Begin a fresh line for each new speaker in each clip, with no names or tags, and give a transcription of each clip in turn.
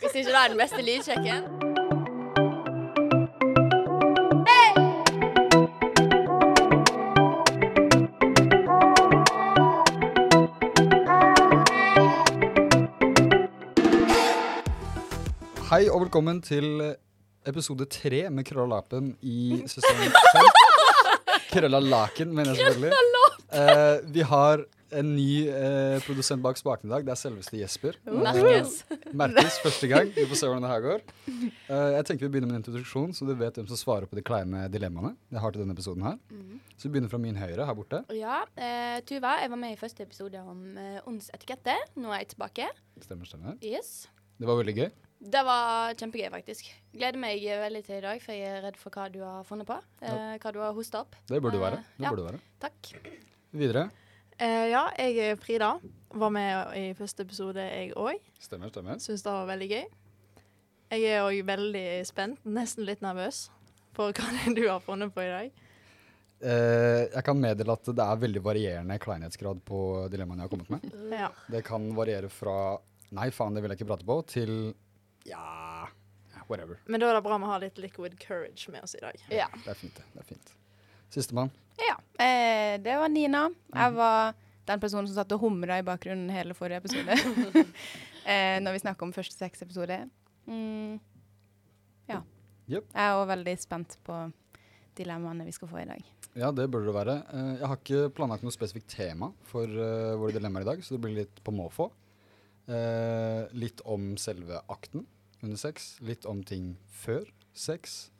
Hvis ikke det er den beste lydsjekken.
Hei og velkommen til eh, episode tre med Krølla Lapen i sesong fem. Krølla Laken, mener jeg selvfølgelig. Eh, vi har en ny eh, produsent bak spaken i dag. Det er selveste Jesper.
Merkes.
Merkes første gang. Vi får se hvordan det her går. Eh, jeg tenker Vi begynner med en introduksjon, så du vet hvem som svarer på de kleine dilemmaene jeg har til denne episoden. her.
Mhm.
Så vi begynner fra min høyre her borte.
Ja, eh, Tuva, jeg var med i første episode om eh, Onds etikette. Nå er jeg tilbake.
Stemmer, stemmer.
Yes.
Det var veldig gøy.
Det var kjempegøy, faktisk. Gleder meg eh, veldig til i dag, for jeg er redd for hva du har funnet på. Eh, hva du har hosta opp.
Det burde du være.
Eh,
Det
ja.
burde du være.
Takk.
Videre.
Eh, ja, jeg er Frida. Var med i første episode, jeg òg.
Stemmer, stemmer.
Syns det var veldig gøy. Jeg er òg veldig spent, nesten litt nervøs for hva det er du har funnet på i dag.
Eh, jeg kan meddele at det er veldig varierende kleinhetsgrad på dilemmaene jeg har kommet med.
Ja.
Det kan variere fra 'nei, faen, det vil jeg ikke prate på' til 'ja, whatever'.
Men da er det bra vi har litt liquid courage med oss i dag.
Ja.
Det er fint, det. det er fint. Sistemann.
Ja, eh, det var Nina. Jeg var den personen som satt og humra i bakgrunnen hele forrige episode. eh, når vi snakka om første seks episode. Mm. Ja.
Jep.
Jeg er òg veldig spent på dilemmaene vi skal få i dag.
Ja, det burde det være. Eh, Jeg har ikke planlagt noe spesifikt tema for eh, våre dilemmaer i dag, så det blir litt på måfå. Eh, Litt om selve akten under sex, litt om ting før sex.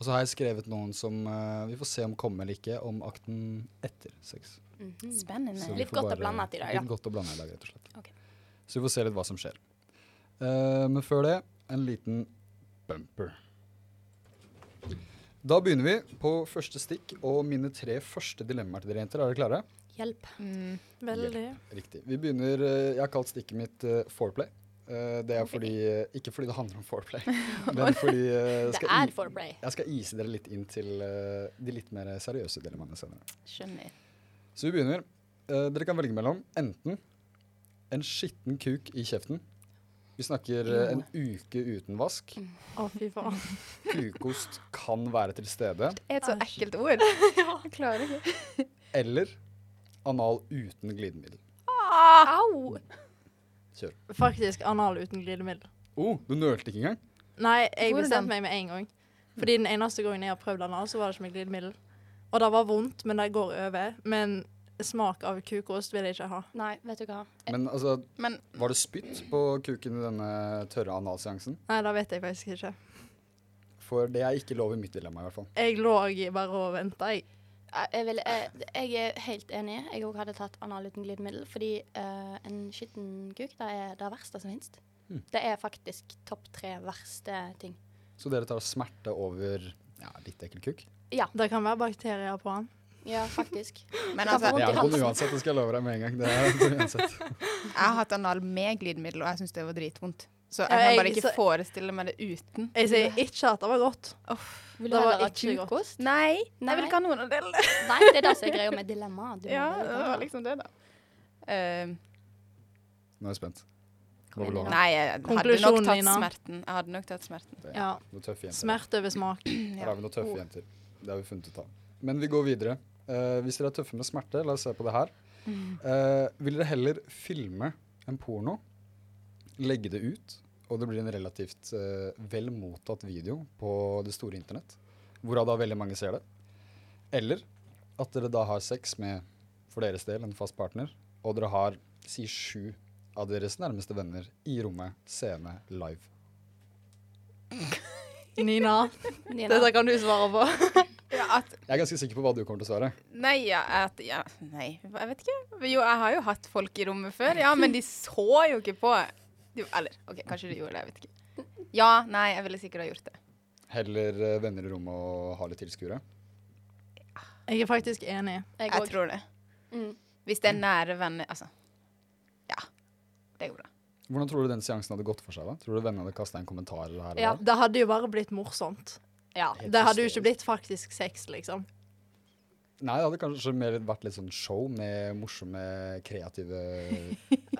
Og så har jeg skrevet noen som eh, vi får se om kommer eller ikke, om akten etter sex.
Mhm.
Mm. Spennende.
Så vi
Litt
får
godt og
bare-
blandet i dag, ja.
Litt godt og blandet i dag, rett og slett.
Ok.
Så vi får se litt hva som skjer. Eh, men før det, en liten bumper. Da begynner vi på første stikk, og mine tre første dilemmaer til dere jenter. Er dere klare?
Hjelp.
Mm.
Veldig.
Riktig. Vi begynner, eh, Jeg har kalt stikket mitt eh, foreplay. Eh, det er fordi, eh, ikke fordi det handler om foreplay, men fordi eh,
Det
skal i-
er foreplay.
jeg skal ise dere litt inn til eh, de litt mer seriøse dilemmaene senere.
Skjønner.
Så vi begynner. Eh, dere kan velge mellom enten en skitten kuk i kjeften. Vi snakker eh, en uke uten vask.
Å, fy faen.
Kukost kan være til stede.
Det er et så
Æsj.
ekkelt ord. Jeg klarer ikke.
Eller anal uten glidemiddel.
Au!
Kjør.
Faktisk anal uten glidemiddel.
Oh, du nølte ikke engang?
Nei, jeg
Hvordan?
bestemte meg med en gang. Fordi den eneste gangen jeg har prøvd anal, så var det ikke med glidemiddel. Og det var vondt, men det går over. Men smak av kukost vil jeg ikke ha.
Nei, vet du hva.
Men altså,
Men
var det spytt på kuken i denne tørre analseansen?
Nei, det vet jeg faktisk ikke.
For det er ikke lov i mitt dilemma, i hvert fall.
Jeg lå bare og venta, jeg.
Jeg, Eh, jeg, vil, jeg, jeg er helt enig. Jeg òg hadde tatt anal uten glidemiddel. Fordi eh, en skitten kuk det er det verste som finnes.
Mm.
Det er faktisk topp tre verste ting.
Så dere tar smerte over ja, litt ekkel kuk?
Det kan være bakterier på den.
Ja, faktisk.
Men
Kan få
altså,
vondt
Det
i
er bånd
halsen.
uansett, det skal jeg love deg med en gang. Det er bånd uansett.
jeg har hatt anal med glidemiddel, og jeg syns det var dritvondt. Så jeg
Ja,
kan
jeg-
bare ikke
så-
forestille meg det uten.
Jeg sier ikke at det var godt.
Vil
Det
du
var
heller ha
ikke godt.
kukost?
Nei,
Nei.
jeg vil ikke ha noen av delene.
Nei, det er det som er greia med dilemma. Du må
Ja,
velge.
det var liksom det, da. Eh,
Nå er jeg spent.
Kom igjen,
Hva vil du ha?
nei, jeg hadde nok
Konklusjonen,
tatt
Nina.
smerten. Jeg hadde nok tatt smerten.
Det er
Ja.
noen tøffe jenter.
Smerte over smak.
Her har vi noen tøffe jenter. Det har vi funnet ut av. Men vi går videre. Eh, hvis dere er tøffe med smerte, la oss se på det her. Eh, vil dere heller filme en porno, legge det ut, og det blir en relativt eh, vel mottatt video på det store internett, hvorav da veldig mange ser det, eller at dere da har sex med, for deres del, en fast partner, og dere har, si sju av deres nærmeste venner i rommet, seende live.
Nina,
Nina.
dette kan du svare på.
Ja, at
Jeg er ganske sikker på hva du kommer til å svare.
Nei, ja, at, ja, nei, jeg vet ikke. Jo, jeg har jo hatt folk i rommet før, ja, men de så jo ikke på. De, eller, ok, kanskje de gjorde det, jeg vet ikke. Ja, nei, jeg ville sikkert ha gjort det.
Heller eh, venner i rommet og ha litt tilskuere.
Jeg er faktisk enig.
Jeg
Jeg
òg.
tror det.
Mm.
Hvis det er nære venner, altså. Ja, det gjorde jeg.
Hvordan tror du den seansen hadde gått for seg? da? Tror du vennene hadde kasta en kommentar? eller her? og
Ja.
der?
Det hadde jo bare blitt morsomt.
Ja.
Helt
Det hadde jo
hysterisk.
ikke blitt faktisk sex, liksom.
Nei, det hadde kanskje mer vært litt sånn show med morsomme, kreative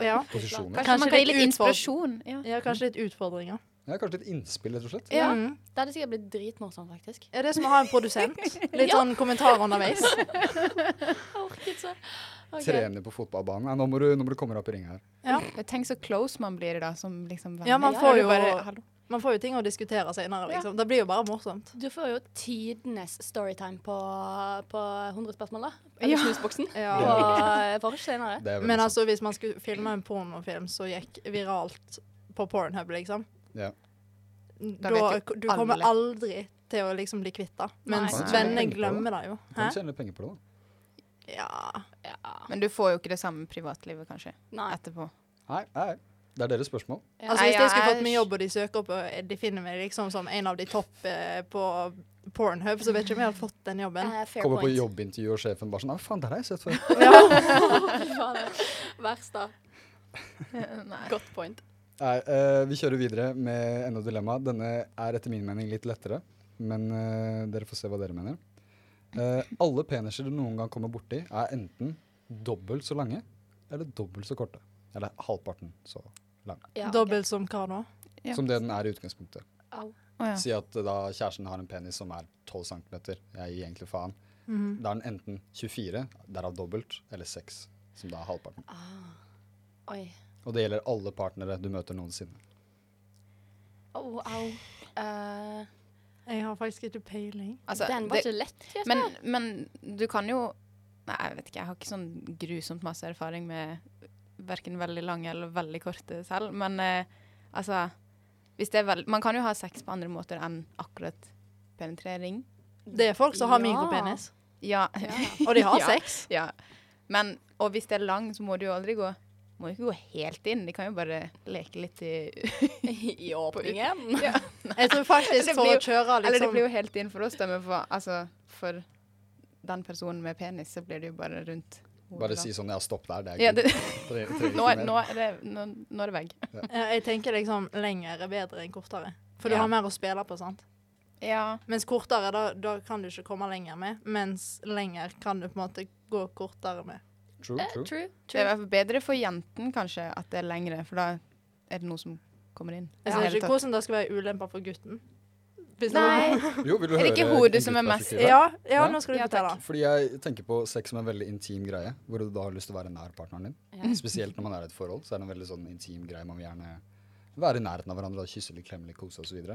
Ja.
posisjoner.
Kanskje,
Kanskje
man kan gi
litt utfordring.
litt inspirasjon. Ja.
ja, kanskje litt utfordringer.
Ja, kanskje litt innspill, rett og slett.
Ja.
Mm.
Det hadde sikkert blitt dritmorsomt, faktisk.
Ja, det er som å ha en produsent. Litt sånn kommentarer underveis.
Jeg orket så. Ok.
Trener på fotballbanen. Nei, nå må du, nå må du komme deg opp i ring her.
Ja.
Tenk så close man blir da, som liksom venner.
Ja, man
Da
får
er det
jo-
bare, hallo.
Man får jo ting å diskutere senere, liksom. Det blir jo bare morsomt.
Du får jo tidenes storytime på, på 100 spørsmål, da.
Ja.
Eller snusboksen. På
Ja.
for senere.
Det er veldig sånn.
Men
sant.
altså, hvis man skulle filme en pornofilm som gikk viralt på Pornhub, liksom,
Ja.
da,
vet jo
du kommer
alle.
aldri til å liksom bli kvitt det. Mens
Nei.
venner
Tenk på det.
glemmer det jo.
Du
Hæ?
kan tjene litt penger på det, da.
Ja.
Men du får jo ikke det samme privatlivet, kanskje,
Nei.
etterpå.
Nei, nei. Det er deres spørsmål.
Altså,
Nei,
hvis jeg skulle
jeg-
fått meg jobb, og de søker opp, og de finner meg liksom som en av de topp eh, på Pornhub, så vet ikke om jeg hadde fått den jobben.
Eh, fair
Kommer på
point.
jobbintervju, og sjefen bare sånn Nei, faen, det har jeg sett før.
Ja, det er Verst, da.
Nei.
Godt point.
Nei, eh, vi kjører videre med enda et dilemma. Denne er etter min mening litt lettere, men eh, dere får se hva dere mener. Eh, alle peniser du noen gang kommer borti, er enten dobbelt så lange eller dobbelt så korte. Eller halvparten så lang.
Ja, ok.
Dobbelt som hva nå?
Ja.
Som det den er i utgangspunktet.
Au.
Å, ja.
Si at eh, da kjæresten har en penis som er 12 cm. Jeg gir egentlig faen.
Mhm.
Da er den enten 24, derav dobbelt, eller 6, som da er halvparten.
Ah. Oi.
Og det gjelder alle partnere du møter noensinne.
Au, au. Eh,
Jeg har faktisk ikke peiling.
Altså,
den var
det-
ikke lett. Kirsten.
Men, men du kan jo Nei, jeg vet ikke. Jeg har ikke sånn grusomt masse erfaring med verken veldig lange eller veldig korte selv. Men eh, altså hvis det er vel, Man kan jo ha sex på andre måter enn akkurat penetrering.
Det er folk som har
Ja.
mikropenis,
Ja.
ja.
og de har
Ja.
sex.
ja. Men, og hvis det er lang, så må du jo aldri gå må jo ikke gå helt inn. De kan jo bare leke litt i
I åpningen.
Jeg tror faktisk
Det
for
blir
å kjøre
Eller det
liksom
blir jo helt inn for oss, da, men for, altså, for den personen med penis, så blir det jo bare rundt hodet,
Bare
da.
si sånn Ja, stopp der. Det er
Ja,
good.
det,
Tre- tre-
nå, er-
mer.
nå, er det, nå, nå er det vegg.
Ja, Jeg tenker liksom lenger er bedre enn kortere. For du
Ja.
har mer å spille på, sant.
Ja.
Mens kortere, da, da kan du ikke komme lenger med. Mens lenger kan du på en måte gå kortere med.
True,
Eh,
true.
true.
Det
true.
er i hvert fall bedre for jenten kanskje at det er lengre, for da er det noe som kommer inn.
Altså, Jeg
I
ser
det hele
ikke
tatt.
hvordan det skal være ulemper for gutten. Hvis det var-
Nei.
Jo, vil du
Er
høre
det ikke hodet
gutt
som er mest-
perspektiv her?
Ja, ja,
Ja.
nå skal du
Ja,
fortelle.
Fordi jeg tenker på sex som en veldig intim greie, hvor du da har lyst til å være nær partneren din.
Ja.
Mm.
Spesielt når man er i et forhold, så er det en veldig sånn intim greie. Man vil gjerne være i nærheten av hverandre, da, kysse litt, klemme litt, kose osv.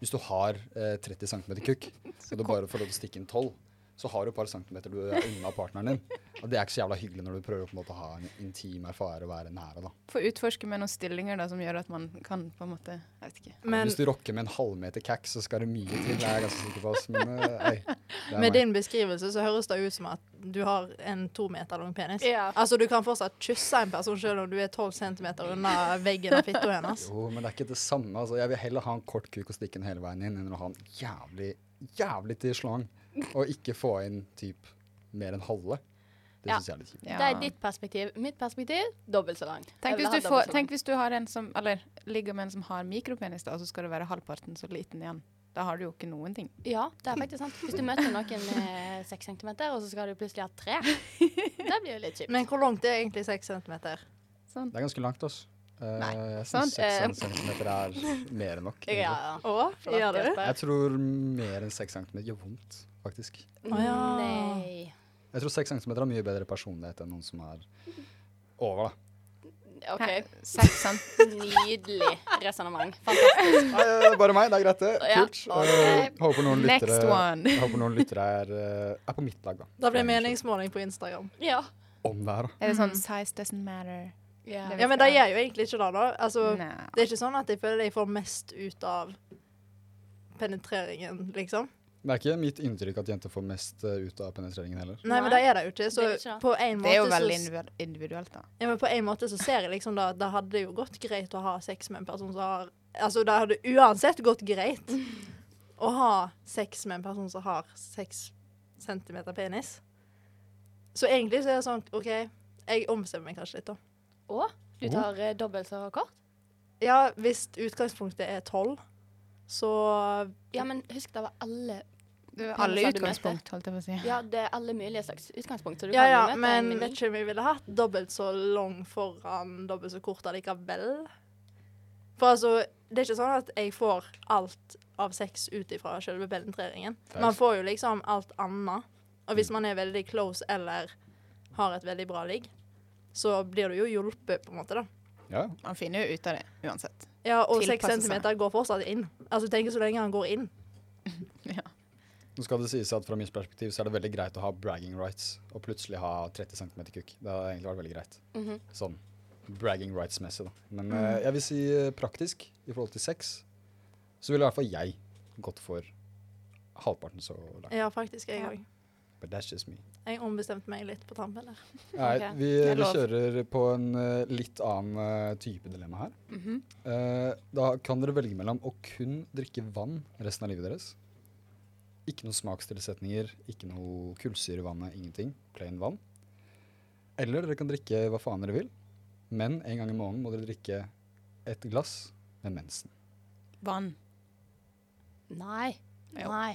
Hvis du har eh, 30 cm kukk, og du bare får lov til å stikke inn 12, så har du et par centimeter du er unna partneren din. Og det er ikke så jævla hyggelig når du prøver å på en måte ha en intim erfaring og være nære, da.
Få utforske med noen stillinger da, som gjør at man kan på en måte Jeg vet ikke.
Men,
Hvis du rocker med en halvmeter cack, så skal det mye til, det er jeg ganske sikker på. ass, Men eh, ei, det er
med
meg.
din beskrivelse så høres det ut som at du har en to meter lang penis.
Ja.
Altså, du kan fortsatt kysse en person selv om du er 12 centimeter unna veggen av fitta hennes.
Jo, men det er ikke det samme. Altså, jeg vil heller ha en kort kuk og stikke den hele veien inn, enn å ha en jævlig, jævlig til slang og ikke få inn typ mer enn halve. Det
Ja.
syns jeg er litt kjipt.
Ja.
Det er ditt perspektiv. Mitt perspektiv dobbelt så lang. Jeg
Tenk
vil
hvis,
ha
du
dobbelt
får,
så lang.
tenk hvis du har en som Eller ligger med en som har mikropenis, da, og så skal det være halvparten så liten igjen. Da har du jo ikke noen ting.
Ja, det er faktisk sant. Hvis du møter noen med seks centimeter, og så skal du plutselig ha tre, det blir jo litt kjipt.
Men hvor langt er egentlig 6 centimeter?
Sånn.
Det er ganske langt, altså.
Nei,
jeg
sant? Eh.
syns 6 cm er mer enn nok.
ja,
egentlig.
ja.
Å, gjør det?
Jeg tror mer enn 6 cm gjør vondt, faktisk.
Å, ja.
Nei.
Jeg tror 6 cm har mye bedre personlighet enn noen som er over, da.
OK.
Nei, Seks sant?
Nydelig resonnement. Fantastisk.
Nei, det er bare meg, det er greit, det.
Ja,
Kult. Eh, håper noen lyttere,
Next one.
jeg håper noen lyttere er, eh, er på mitt lag, da.
Da blir meningsmåling på Instagram.
Ja.
Om det her, da.
Er det
Mm.
sånn size doesn't matter?
Ja.
Ja, men det gjør jo egentlig ikke det, da. Altså,
Nei.
det er ikke sånn at jeg føler jeg får mest ut av penetreringen, liksom.
Det er ikke mitt inntrykk at jenter får mest eh, ut av penetreringen heller.
Nei, men det
Nei,
er det jo ikke. Så
det er ikke det.
på en
Det er jo
måte
veldig
så,
individuelt- individuelt, da.
ja, men på en måte så ser jeg liksom da at det hadde jo gått greit å ha sex med en person som har Altså, det hadde uansett gått greit å ha sex med en person som har seks centimeter penis. Så egentlig så er det sånn OK, jeg ombestemmer meg kanskje litt, da.
Og du tar eh, dobbelt så kort?
Ja, hvis utgangspunktet er tolv, så
Ja, men husk det var alle
Alle
peniser du
utgangspunkt, holdt jeg på å si.
Ja, det er alle mulige slags utgangspunkt. Så du
Ja,
kan
ja,
jo møte
men
en
vet
meny.
ikke om vi ville hatt dobbelt så lang foran, dobbelt så kort allikevel. For altså, det er ikke sånn at jeg får alt av sex ut ifra selve penetreringen.
Thanks.
Man får jo liksom alt annet. Og hvis man er veldig close eller har et veldig bra ligg, så blir du jo hjulpet, på en måte, da.
Ja,
Man finner jo ut av det uansett.
Ja, og seks
Tilpasse seg.
centimeter går fortsatt inn. Altså, tenk så lenge han går inn.
Ja.
Nå skal det sies at fra mitt perspektiv så er det veldig greit å ha bragging rights og plutselig ha 30 cm kukk. Det hadde egentlig vært veldig greit.
Mhm.
Sånn bragging rights-messig, da. Men eh, jeg vil si eh, praktisk i forhold til sex, så ville i hvert fall jeg gått for halvparten så langt.
Ja, faktisk, jeg
Ja.
òg.
But that's just me.
Jeg ombestemte meg litt på tampen der.
Nei,
Ok,
vi,
det er
vi
lov.
kjører på en eh, litt annen eh, type dilemma her.
Mhm.
Eh, da kan dere velge mellom å kun drikke vann resten av livet deres. Ikke noe smakstilsetninger, ikke noe kullsyre i vannet, ingenting. Plain vann. Eller dere kan drikke hva faen dere vil, men en gang i måneden må dere drikke et glass med mensen.
Vann.
Nei.
Jo.
Nei.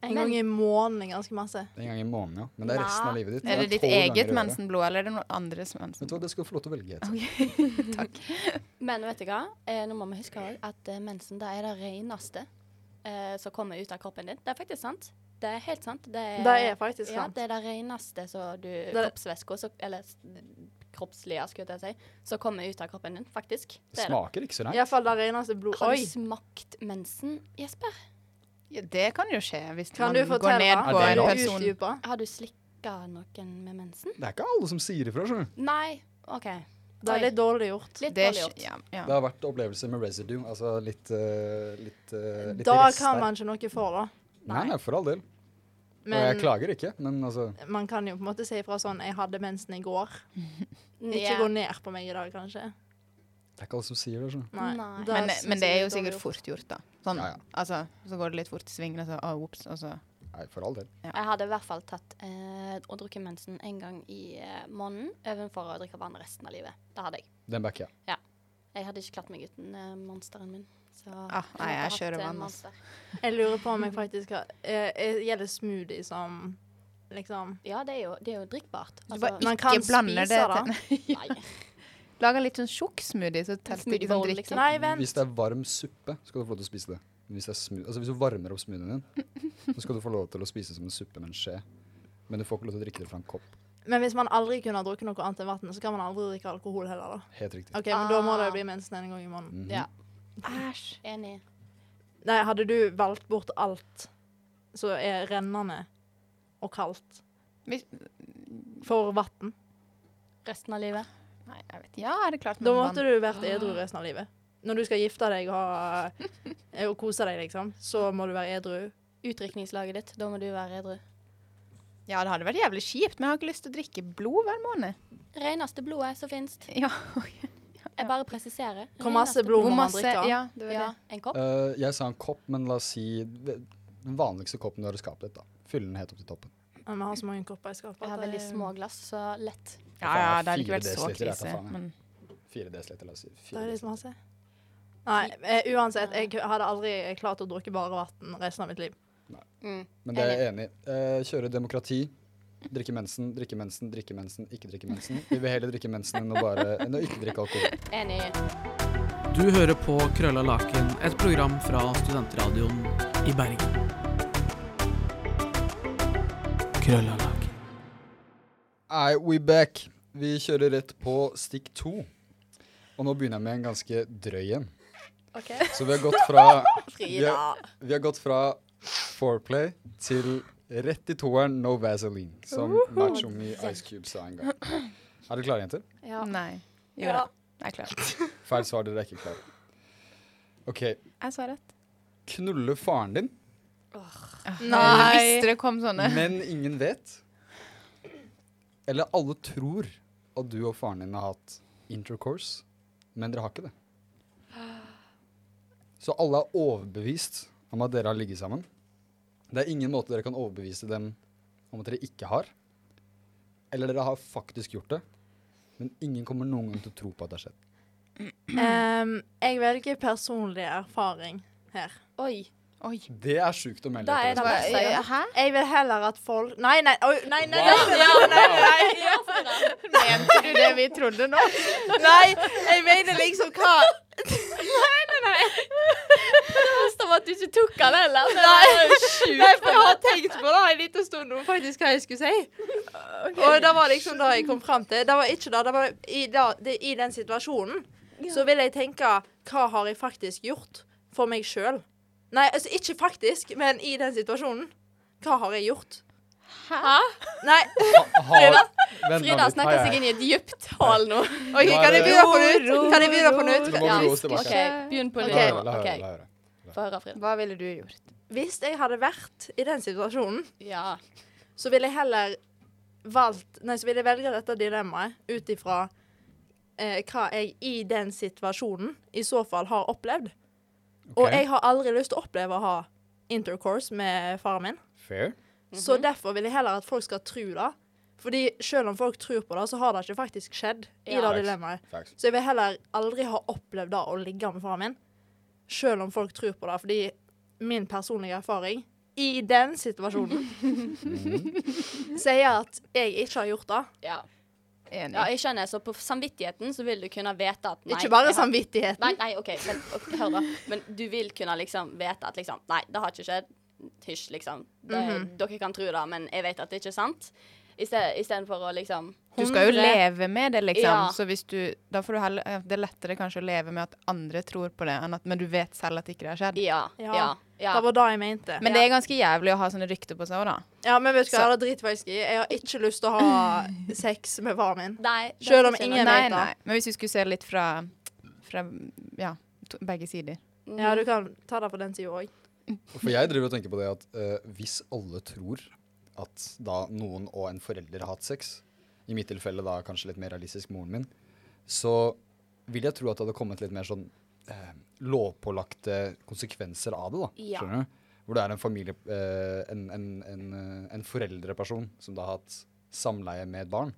En
Men-
gang i måneden ganske masse.
En gang i måneden, ja. Men det er resten av
Nei.
livet ditt.
Er det ditt
tolv ganger i
eget
året.
mensenblod, eller er det noen andres
Vet du hva,
mensenblod?
det skal du få lov til å velge. Etter.
Men vet du hva? Eh, nå må vi huske også at eh, mensen det er det reneste eh, som kommer ut av kroppen din. Det er faktisk sant. Det er helt sant. Det er,
Det er faktisk
ja,
sant.
det er det reneste som du
er det-
Kroppsvæska, som- eller s- kroppslige, skulle jeg til å si, som kommer ut av kroppen din, faktisk. er
Det
det.
smaker ikke så
I
rent.
hvert fall det reneste altså, blod.
Har du
Oi!
smakt mensen, Jesper?
Ja, det kan jo skje hvis
Kan
man
du
går ned
fortelle?
Er
på
det
en
lov?
person.
Utdype.
Har du slikka noen med mensen?
Det er ikke alle som sier ifra, skjønner du.
Nei. OK.
Det er litt dårlig gjort.
Litt
Det er
dårlig
ikke-
gjort.
ja, ja.
Det har vært opplevelser med residue, altså litt, eh, litt, eh, litt
Da
rest
kan
der.
man ikke noe for, da.
Nei, nei, for all del. og jeg
Men
klager ikke, men altså
man kan jo på en måte si ifra sånn 'Jeg hadde mensen i går'.
Mm.
Ikke
Ja.
gå ned på meg i dag, kanskje.
Det er ikke alle som sier det. skjønner du.
Nei.
Nei.
da
Men,
synes
men det
jeg
er jo
litt dårlig
sikkert
gjort.
fort gjort, da. Sånn,
Ja, ja.
Altså, så går det litt fort i svingene, så ah, ops, og så
Nei, for all del.
Jeg hadde i hvert fall tatt eh, og drukket mensen en gang i eh, måneden overfor å drikke vann resten av livet. Det hadde jeg.
Den backer jeg.
Jeg hadde ikke klart meg uten eh, monsteren min. Så
Ah, nei,
måtte
jeg
hatt,
kjører
eh,
vann,
Monster.
Jeg lurer på om jeg faktisk har eh, eh, Gjelder smoothie som liksom
Ja, det er jo, det er jo drikkbart. Altså,
Du bare
man
ikke
kan
blander
spise
det
det.
til
nei.
Lager litt sånn tjukk smoothie, så teller det
Smoothie
ikke som
bowl,
drikke.
liksom.
Nei, vent.
Hvis det er varm suppe, skal du få lov til å spise det. Men Hvis, det er smu altså, hvis du varmer opp smoothien din, så skal du få lov til å spise det som en suppe med en skje. Men du får ikke lov til å drikke det fra en kopp.
Men hvis man aldri kunne ha drukket noe annet enn vann, så kan man aldri drikke alkohol heller, da.
Helt riktig.
OK, men da må det
Ah.
jo bli mensen en gang i måneden.
Mhm.
Ja,
Æsj.
enig.
Nei, hadde du valgt bort alt som er rennende og kaldt
Hvis-
for vann,
Resten av livet.
Nei, jeg vet ikke. Ja, er det klart.
da
men
måtte
vann-
du vært edru resten av livet. Når du skal gifte deg og, ha, og kose deg, liksom, så må du være edru.
Utdrikningslaget ditt, da må du være edru.
Ja, det hadde vært jævlig kjipt, men jeg har ikke lyst til å drikke blod hver måned.
Reneste blodet som finnes.
Ja,
Jeg bare presiserer.
Hvor
Reneste
masse blod
Hvor
må man
masse
drikke?
Ja, det var
Ja,
det.
en kopp.
Eh, jeg sa en kopp, men la oss si det- den vanligste koppen du har i skapet ditt. da. Fyll den helt opp til toppen.
Ja, Vi har så mange kopper i skapet.
Jeg har
at det-
veldig små glass, så lett.
Ja, ja, det hadde ikke
Fire
vært så
desiliter, dette
krise.
faen, ja.
Men
Fire desiliter, la oss si.
Det er
Fire
litt
desiliter.
masse. Nei, eh, uansett. Jeg hadde aldri klart å drikke bare vann resten av mitt liv.
Mm.
Men det er jeg enig i. Eh, kjøre demokrati. Drikke mensen, drikke mensen, drikke mensen, ikke drikke mensen. Vi vil heller drikke mensen enn å, bare, enn å ikke drikke alkohol.
Enig.
Du hører på Krølla Laken, et program fra Studentradioen i Bergen. Krølla Laken.
Nei, we back. Vi kjører rett på stikk to. Og nå begynner jeg med en ganske drøy en.
OK.
Så vi har gått fra, vi
Frida!
har, vi har gått fra foreplay til rett i toeren No Vaseline, som Macho Me Ice Cube sa en gang. Er dere klare, jenter?
Ja.
nei. Jo da.
Ja.
Jeg er klar.
Feil svar, dere er ikke klare. OK.
Jeg sa rett.
Knulle faren din,
Jeg
Nei.
visste det kom sånne.
men ingen vet. Eller alle tror at du og faren din har hatt intercourse, men dere har ikke det. Så alle er overbevist om at dere har ligget sammen. Det er ingen måte dere kan overbevise dem om at dere ikke har. Eller dere har faktisk gjort det, men ingen kommer noen gang til å tro på at det har skjedd.
Em, jeg velger personlig erfaring her.
Oi.
Oi.
Det er sjukt å melde altså.
Da er
etter.
det
Hva-
verste jeg har
Hæ?
Jeg vil heller at folk Nei, nei, oi, nei, nei,
Wow.
nei, nei, nei, nei, nei.
Mente du det vi trodde nå?
Nei, jeg mener liksom hva
lyst til at du ikke tok den heller.
Nei, for jeg har tenkt på det en liten stund om faktisk hva jeg skulle si. Og det var liksom det jeg kom fram til. Det var ikke det. det var i, da, det, I den situasjonen så vil jeg tenke hva har jeg faktisk gjort for meg sjøl? Nei, altså ikke faktisk, men i den situasjonen. Hva har jeg gjort?
Hæ?
Nei,
Har, vent nå
Frida
litt,
snakker
har
seg
jeg-
inn i et dypt hål nå.
ok, kan jeg begynne på nytt? Kan jeg begynne på nytt?
Nå må vi gå oss tilbake.
OK, begynn på
La
nytt.
Ok.
høre, la høre,
Ok,
la høre.
Få høre, Frida.
Hva ville du gjort?
Hvis jeg hadde vært i den situasjonen,
Ja.
så ville jeg heller valgt Nei, så ville jeg velge dette dilemmaet ut ifra eh, hva jeg i den situasjonen i så fall har opplevd. Og
Ok,
jeg har aldri lyst til å oppleve å ha intercourse med faren min.
Fair.
Så derfor vil jeg heller at folk skal tro det. Fordi selv om folk tror på det, så har det ikke faktisk skjedd i
Ja.
det dilemmaet.
Facts.
Så jeg vil heller aldri ha opplevd det å ligge med faren min, selv om folk tror på det. Fordi min personlige erfaring i den situasjonen sier at jeg ikke har gjort det.
ja.
Enig.
Ja, jeg skjønner. Så på samvittigheten så vil du kunne vite at nei,
ikke bare
jeg har-
samvittigheten.
Nei, nei, OK, men ok, hør, da. Men du vil kunne liksom vite at liksom Nei, det har ikke skjedd. Hysj, liksom. Det,
Mhm.
Dere kan tro det, men jeg vet at det ikke er sant. I sted- Istedenfor å liksom
Du skal jo
100
leve med det, liksom.
Ja.
Så hvis du, da får du heller, ja, det er lettere kanskje å leve med at andre tror på det, enn at, men du vet selv at ikke det har skjedd.
Ja.
Ja.
Ja. ja.
Det var det jeg mente.
Men det er ganske jævlig å ha sånne rykter på seg òg, da.
Ja, men vet du hva, jeg har dritfalsk i. Jeg har ikke lyst til å ha sex med faren min.
Nei, det
Selv om
skal ikke
ingen- Jeg
Nei,
vet det.
nei. Men hvis vi skulle se litt fra, fra ja, to, begge sider.
noe.
Ja, du kan ta det på den sida òg.
For jeg driver og tenker på det at eh, hvis alle tror at da noen og en forelder har hatt sex, i mitt tilfelle da kanskje litt mer realistisk moren min, så vil jeg tro at det hadde kommet litt mer sånn eh, lovpålagte konsekvenser av det, da.
Ja.
Skjønner du? Hvor det er en familie, eh, en, en, en, eh, en foreldreperson som da har hatt samleie med et barn.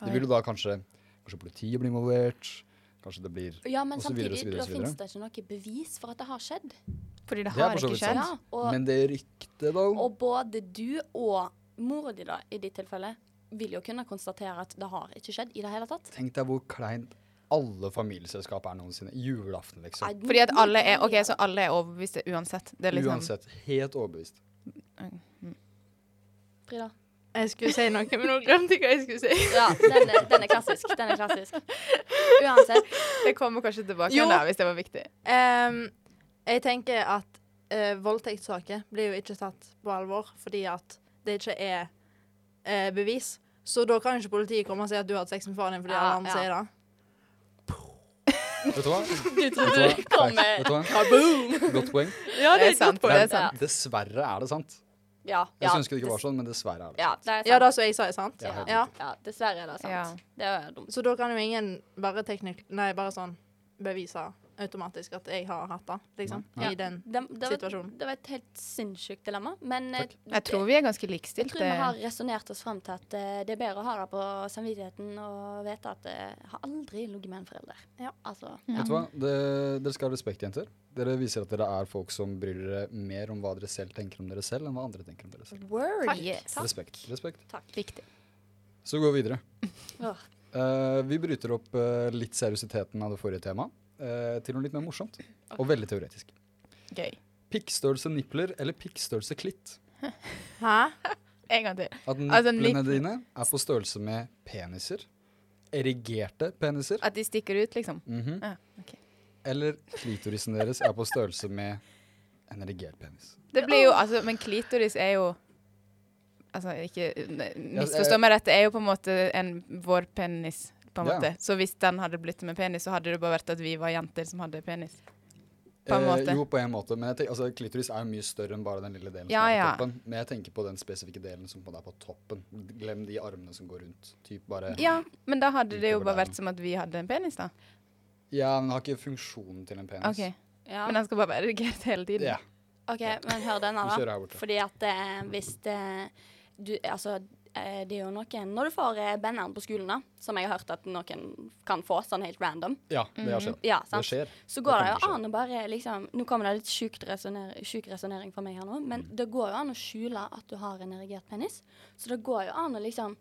Det vil jo da kanskje Kanskje politiet blir involvert. Kanskje det blir
Ja, men
Og så
samtidig,
videre, og så videre, og
da
så videre.
finnes det ikke noe bevis for at det har skjedd.
Fordi det
Det er
har
for så
ikke
vidt
skjedd.
Ja, og,
Men det ryktet, da?
og både du og mora di, da, i ditt tilfelle, vil jo kunne konstatere at det har ikke skjedd i det hele tatt.
Tenk deg hvor kleint alle familieselskap er noensinne. Julaften, liksom.
Nei,
Fordi at alle er OK, så alle er overbeviste uansett. Det er liksom
Uansett. Helt overbevist.
Frida.
Jeg skulle si noe, men nå glemte jeg hva jeg skulle si.
Ja, den er, den er klassisk. Den er klassisk. Uansett.
Det kommer kanskje tilbake
Jo.
igjen da, hvis det var viktig.
Ehm, jeg tenker at eh, voldtektssaker blir jo ikke tatt på alvor fordi at det ikke er eh, bevis. Så da kan ikke politiet komme og si at du har hatt sex med faren din fordi
Ja,
alle andre
ja.
sier det.
Vet du hva? Vet
Du
du
trodde
hva?
du kom
Facts. Vet
med
du hva?
kaboom!
Godt poeng.
Ja,
Det er sant. Det er sant.
Dessverre er det sant.
Ja,
Jeg
ja.
skulle ønske det ikke var sånn, men dessverre er det
Ja,
sant.
det er sant.
Ja, det som jeg sa, er sant.
Ja, helt
Ja.
Ja, dessverre er det sant.
Ja.
Det er dumt.
Så da kan jo ingen bare teknik... Nei, bare sånn bevise automatisk at jeg har hatt det, liksom.
Nei.
I den.
Det, det, var,
Situasjonen.
det var et helt sinnssykt dilemma, men
Takk.
eh,
Jeg tror vi er ganske eh,
Jeg
likestilte.
tror vi har resonnert oss fram til at eh, det er bedre å ha det på samvittigheten og vite at eh, jeg har aldri ligget med en forelder.
Ja.
Altså,
Vet du hva? Det, dere skal ha respekt, jenter. Dere viser at dere er folk som bryr dere mer om hva dere selv tenker om dere selv, enn hva andre tenker om dere selv.
word.
Takk. Yes.
Takk.
Respekt. respekt.
Viktig.
Så går vi videre.
Åh.
Eh, vi bryter opp eh, litt seriøsiteten av det forrige temaet eh, til noe litt mer morsomt og veldig teoretisk.
Gøy.
Pikkstørrelse nippler eller pikkstørrelse klitt?
Hæ?
En gang til.
At
Altså,
nipplene
nipp-
dine er på størrelse med peniser. Erigerte peniser.
At de stikker ut, liksom.
Mhm.
Ja, ok.
Eller klitorisen deres er på størrelse med en erigert penis.
Det blir jo, altså, men klitoris er jo Altså, ikke ne- misforstå meg rett, det er jo på en måte en vår penis, på en
Ja.
måte. Så hvis den hadde blitt med penis, så hadde det bare vært at vi var jenter som hadde penis. På en måte.
Eh, jo, på en måte. Men jeg tenker, altså, klitoris er jo mye større enn bare den lille delen
Ja,
som er på
ja.
toppen. Men jeg tenker på den spesifikke delen som på en måte er på toppen. Glem de armene som går rundt. Typ bare
Ja, men da hadde det jo
Utover
bare
der.
vært som at vi hadde en penis, da.
Ja, den har ikke funksjonen til en penis.
OK.
Ja.
Men den skal bare være erigert hele tiden.
Ja,
OK, men hør denne,
vi
da.
kjører her borte.
Fordi at eh, hvis det, eh, du Altså, eh, det er jo noen Når du får eh, banneren på skolen, da, som jeg har hørt at noen kan få sånn helt random,
Ja, det
Mhm.
har skjedd.
ja,
Det
sant?
skjer.
så
det
går det
kan
jo
skje.
an å bare liksom Nå kommer det litt sjukt resonner- sjuk resonnering fra meg her nå, men
Mm.
det går jo an å skjule at du har en erigert penis. Så det går jo an å liksom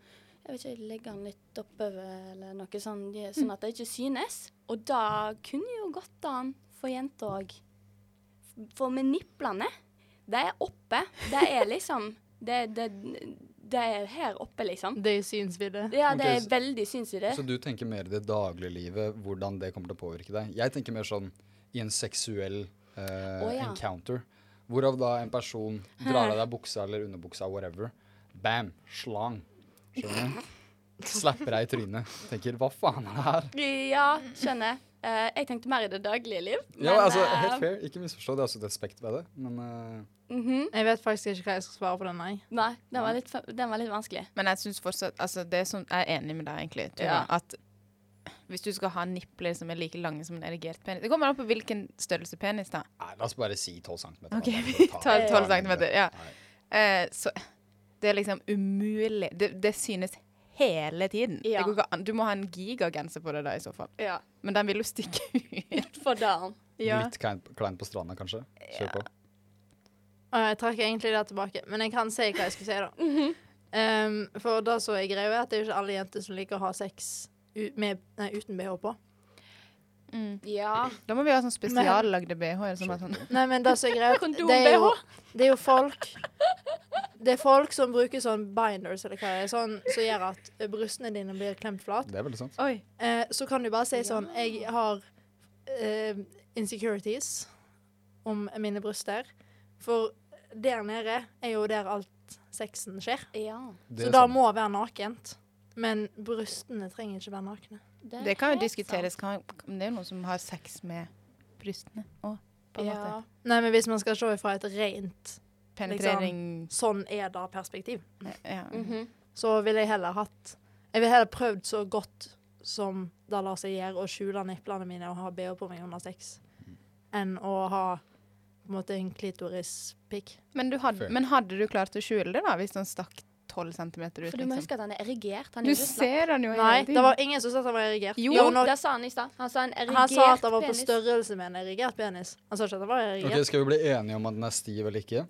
jeg vet ikke, legge den litt oppover eller noe sånn, de-
Mm.
sånn at det ikke synes. Og da kunne jo gått an for jenter òg. For med niplene, det er oppe. Det er liksom Det, det, det er her oppe, liksom.
Det syns vi det.
Ja, det
Ok,
er
så-
veldig synsvidde.
Så du tenker mer i det dagliglivet, hvordan det kommer til å påvirke deg. Jeg tenker mer sånn i en seksuell eh,
Å, ja.
encounter. Hvorav da en person drar av deg buksa eller underbuksa, whatever. Bam! Slang. Skjønner du? Slapper deg i trynet. Tenker 'hva faen er det her'?
Ja, skjønner. Eh, jeg tenkte mer i det daglige liv.
Ja, altså,
eh,
helt fair. Ikke misforstå, det er også et aspekt ved det. Men eh,
mhm.
Jeg vet faktisk ikke hva jeg skal svare på den, nei.
Nei, den var litt, fa- den var litt vanskelig.
Men jeg synes fortsatt altså det er sånn, Jeg er enig med deg, egentlig. Tora,
Ja.
At hvis du skal ha nipler som er like lange som en erigert penis Det kommer an på hvilken størrelse penis, da.
nei, la oss bare si 12 cm.
Ok, vi tar 12 centimeter, ja.
Nei.
Eh, så det er liksom umulig. Det, det synes hele tiden.
Ja.
Det går ikke an. Du må ha en gigagenser på deg da, i så fall.
Ja.
Men den vil jo stikke ut.
For dagen.
Litt klein, klein på stranda, kanskje. Kjør på.
Og jeg trakk egentlig det tilbake, men jeg kan si hva jeg skulle si, da. um, for da så jeg greia er at det er jo ikke alle jenter som liker å ha sex u med, nei, uten BH på.
Mm. Ja.
Da må vi ha sånn spesiallagde BH-er som er sånn
Nei, men det som er greia
Kondom,
det er, jo, det er jo folk Det er folk som bruker sånn binders, eller hva det er, sånn som gjør at eh, brystene dine blir klemt flat.
Det er veldig sant.
Oi.
Eh, så kan du bare si sånn Jeg har eh, insecurities om mine bryster. For der nede er jo der alt sexen skjer.
ja.
Det
Så
er
det
sant.
må være nakent. Men brystene trenger ikke være nakne.
er
Det kan jo
helt
diskuteres. Kan, det er jo noen som har sex med brystene òg,
sant.
på en
Ja. liksom.
måte.
Nei, men hvis man skal se ifra et rent
Penetrering
sånn er det-perspektiv,
ja.
Mhm.
så ville jeg heller hatt Jeg ville heller prøvd så godt som det lar seg gjøre å skjule niplene mine og ha BH på meg under sex, enn å ha på en måte en klitorispikk.
Men, du hadde,
Fair.
men hadde du klart å skjule det, da, hvis den stakk 12 cm
For
ut?
du må
liksom?
huske at han er erigert. Han er
Du
jo russland.
ser den jo
Nei,
hele
det
tiden.
var ingen som sa at han var erigert.
Jo,
Jo,
nå-
det sa han i stad. Han sa en erigert
han sa at han var på
penis.
størrelse med en erigert penis. Han sa ikke at han var erigert.
Ok, Skal vi bli enige om at den er stiv eller ikke?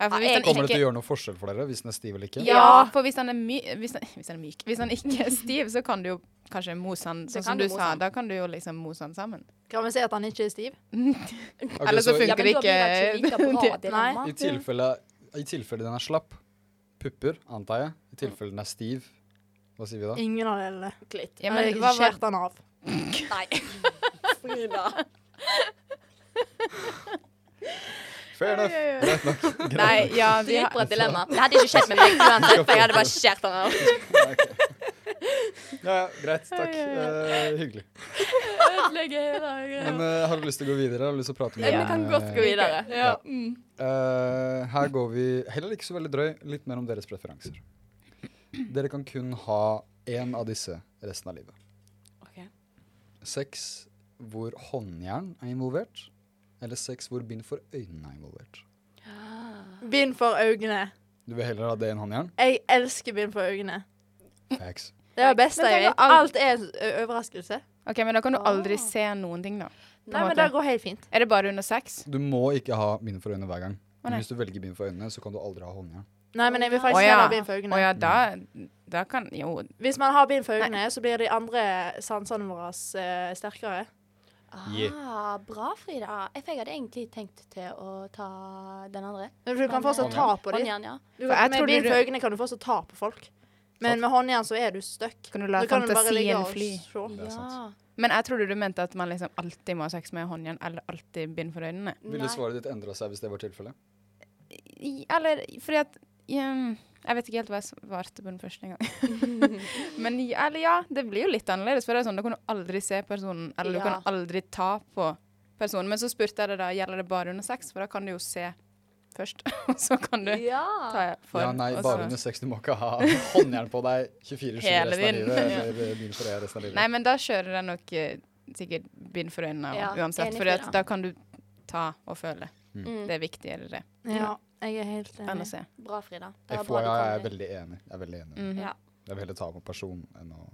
Ja, for
Ja,
hvis
jeg
den
Kommer det
ikke-
til å gjøre noe forskjell for dere hvis den er stiv eller ikke?
Ja, for hvis han er, my hvis han, hvis han er myk Hvis han ikke er stiv, så kan du jo kanskje mose han
kan
sånn som
du
du
mose
sa.
han.
Da kan du jo liksom mose han sammen.
Kan vi si at han ikke er stiv?
Ok,
Eller
Ja,
så funker
men
det
da blir det ikke like bra
ikke.
dilemma.
I tilfelle, I tilfelle den er slapp, pupper, antar jeg. I tilfelle den er stiv, hva sier vi da?
Ingen av delene.
Klitt.
Ja,
Ja,
men,
jeg
hva var
skjærte han av.
Nei. Frida.
Fair enough. Greit nok. Greit
Nei,
nok.
ja, vi har
Dritbra dilemma. Det hadde ikke skjedd med meg uansett, for jeg hadde bare skjært han av.
Ja, ok. Ja, ja, greit. Takk. Eh, hyggelig. Men eh, har du lyst til å gå videre? Har du lyst til å prate mer
Ja, vi
om,
kan godt
eh,
gå videre.
Ja. Eh, her går vi heller ikke så veldig drøy. Litt mer om deres preferanser. Dere kan kun ha én av disse resten av livet.
Ok.
Sex hvor håndjern er involvert, eller sex hvor bind for øynene er involvert.
eh,
Bind for øynene.
Du vil heller ha det enn håndjern?
Jeg elsker bind for øynene.
Mm.
Facts.
Det er det beste
Men
jeg
tenk
vet.
å al-
Alt er en ø- overraskelse.
OK, men da kan du aldri
Ah.
se noen ting, da. På
Nei,
en
men
måte.
det går helt fint.
Er det bare under sex?
Du må ikke ha bind for øynene hver gang.
nei.
Men hvis du velger bind for øynene, så kan du aldri ha håndjern.
Nei, men jeg vil
Å
faktisk
ja.
heller ha bind for
Å
øynene.
ja, da, da kan Jo.
Hvis man har bind for øynene, så blir de andre sansene våre eh, sterkere.
Ah, bra, Frida. Jeg hadde egentlig tenkt til å ta den andre.
Men Du kan fortsatt ta på dem.
Håndjern, ja.
Du,
For jeg
med
trodde
bind
du-
for øynene kan du fortsatt ta på folk. Men med håndjern så er du stuck.
Kan du
Da
la
kan du bare ligge
fantasien
og
fly?
se.
Det er sant.
Men jeg trodde du mente at man liksom alltid må ha sex med håndjern, eller alltid bind for øynene.
Ville svaret ditt endra seg hvis det var tilfellet?
I- Eller fordi at ehm, Jeg vet ikke helt hva jeg svarte på den første engang. Men i- eller ja, det blir jo litt annerledes. For det er sånn, da kan du aldri se personen, eller du
Ja.
kan aldri ta på personen. Men så spurte jeg det da, gjelder det bare under sex? For da kan du jo se først, og så kan du
Ja.
ta for. altså-
ja, nei,
og
bare
så-
under sex. Du må ikke ha håndjern på deg 24-7
Hele
resten av
tiden.
livet. Eller bind for øynene resten av livet.
Nei, men da kjører jeg nok eh, sikkert bind for øynene
Ja,
uansett.
enig
For
for deg. Mm.
da kan du ta og føle. Det er viktigere, det.
Ja. Jeg er helt
enn å
enig.
se.
Bra, Frida. Det er bra
FYI
du
er
kom
jeg
dit.
veldig enig. Jeg er veldig enig.
Mhm.
Ja.
Jeg vil heller ta på person enn å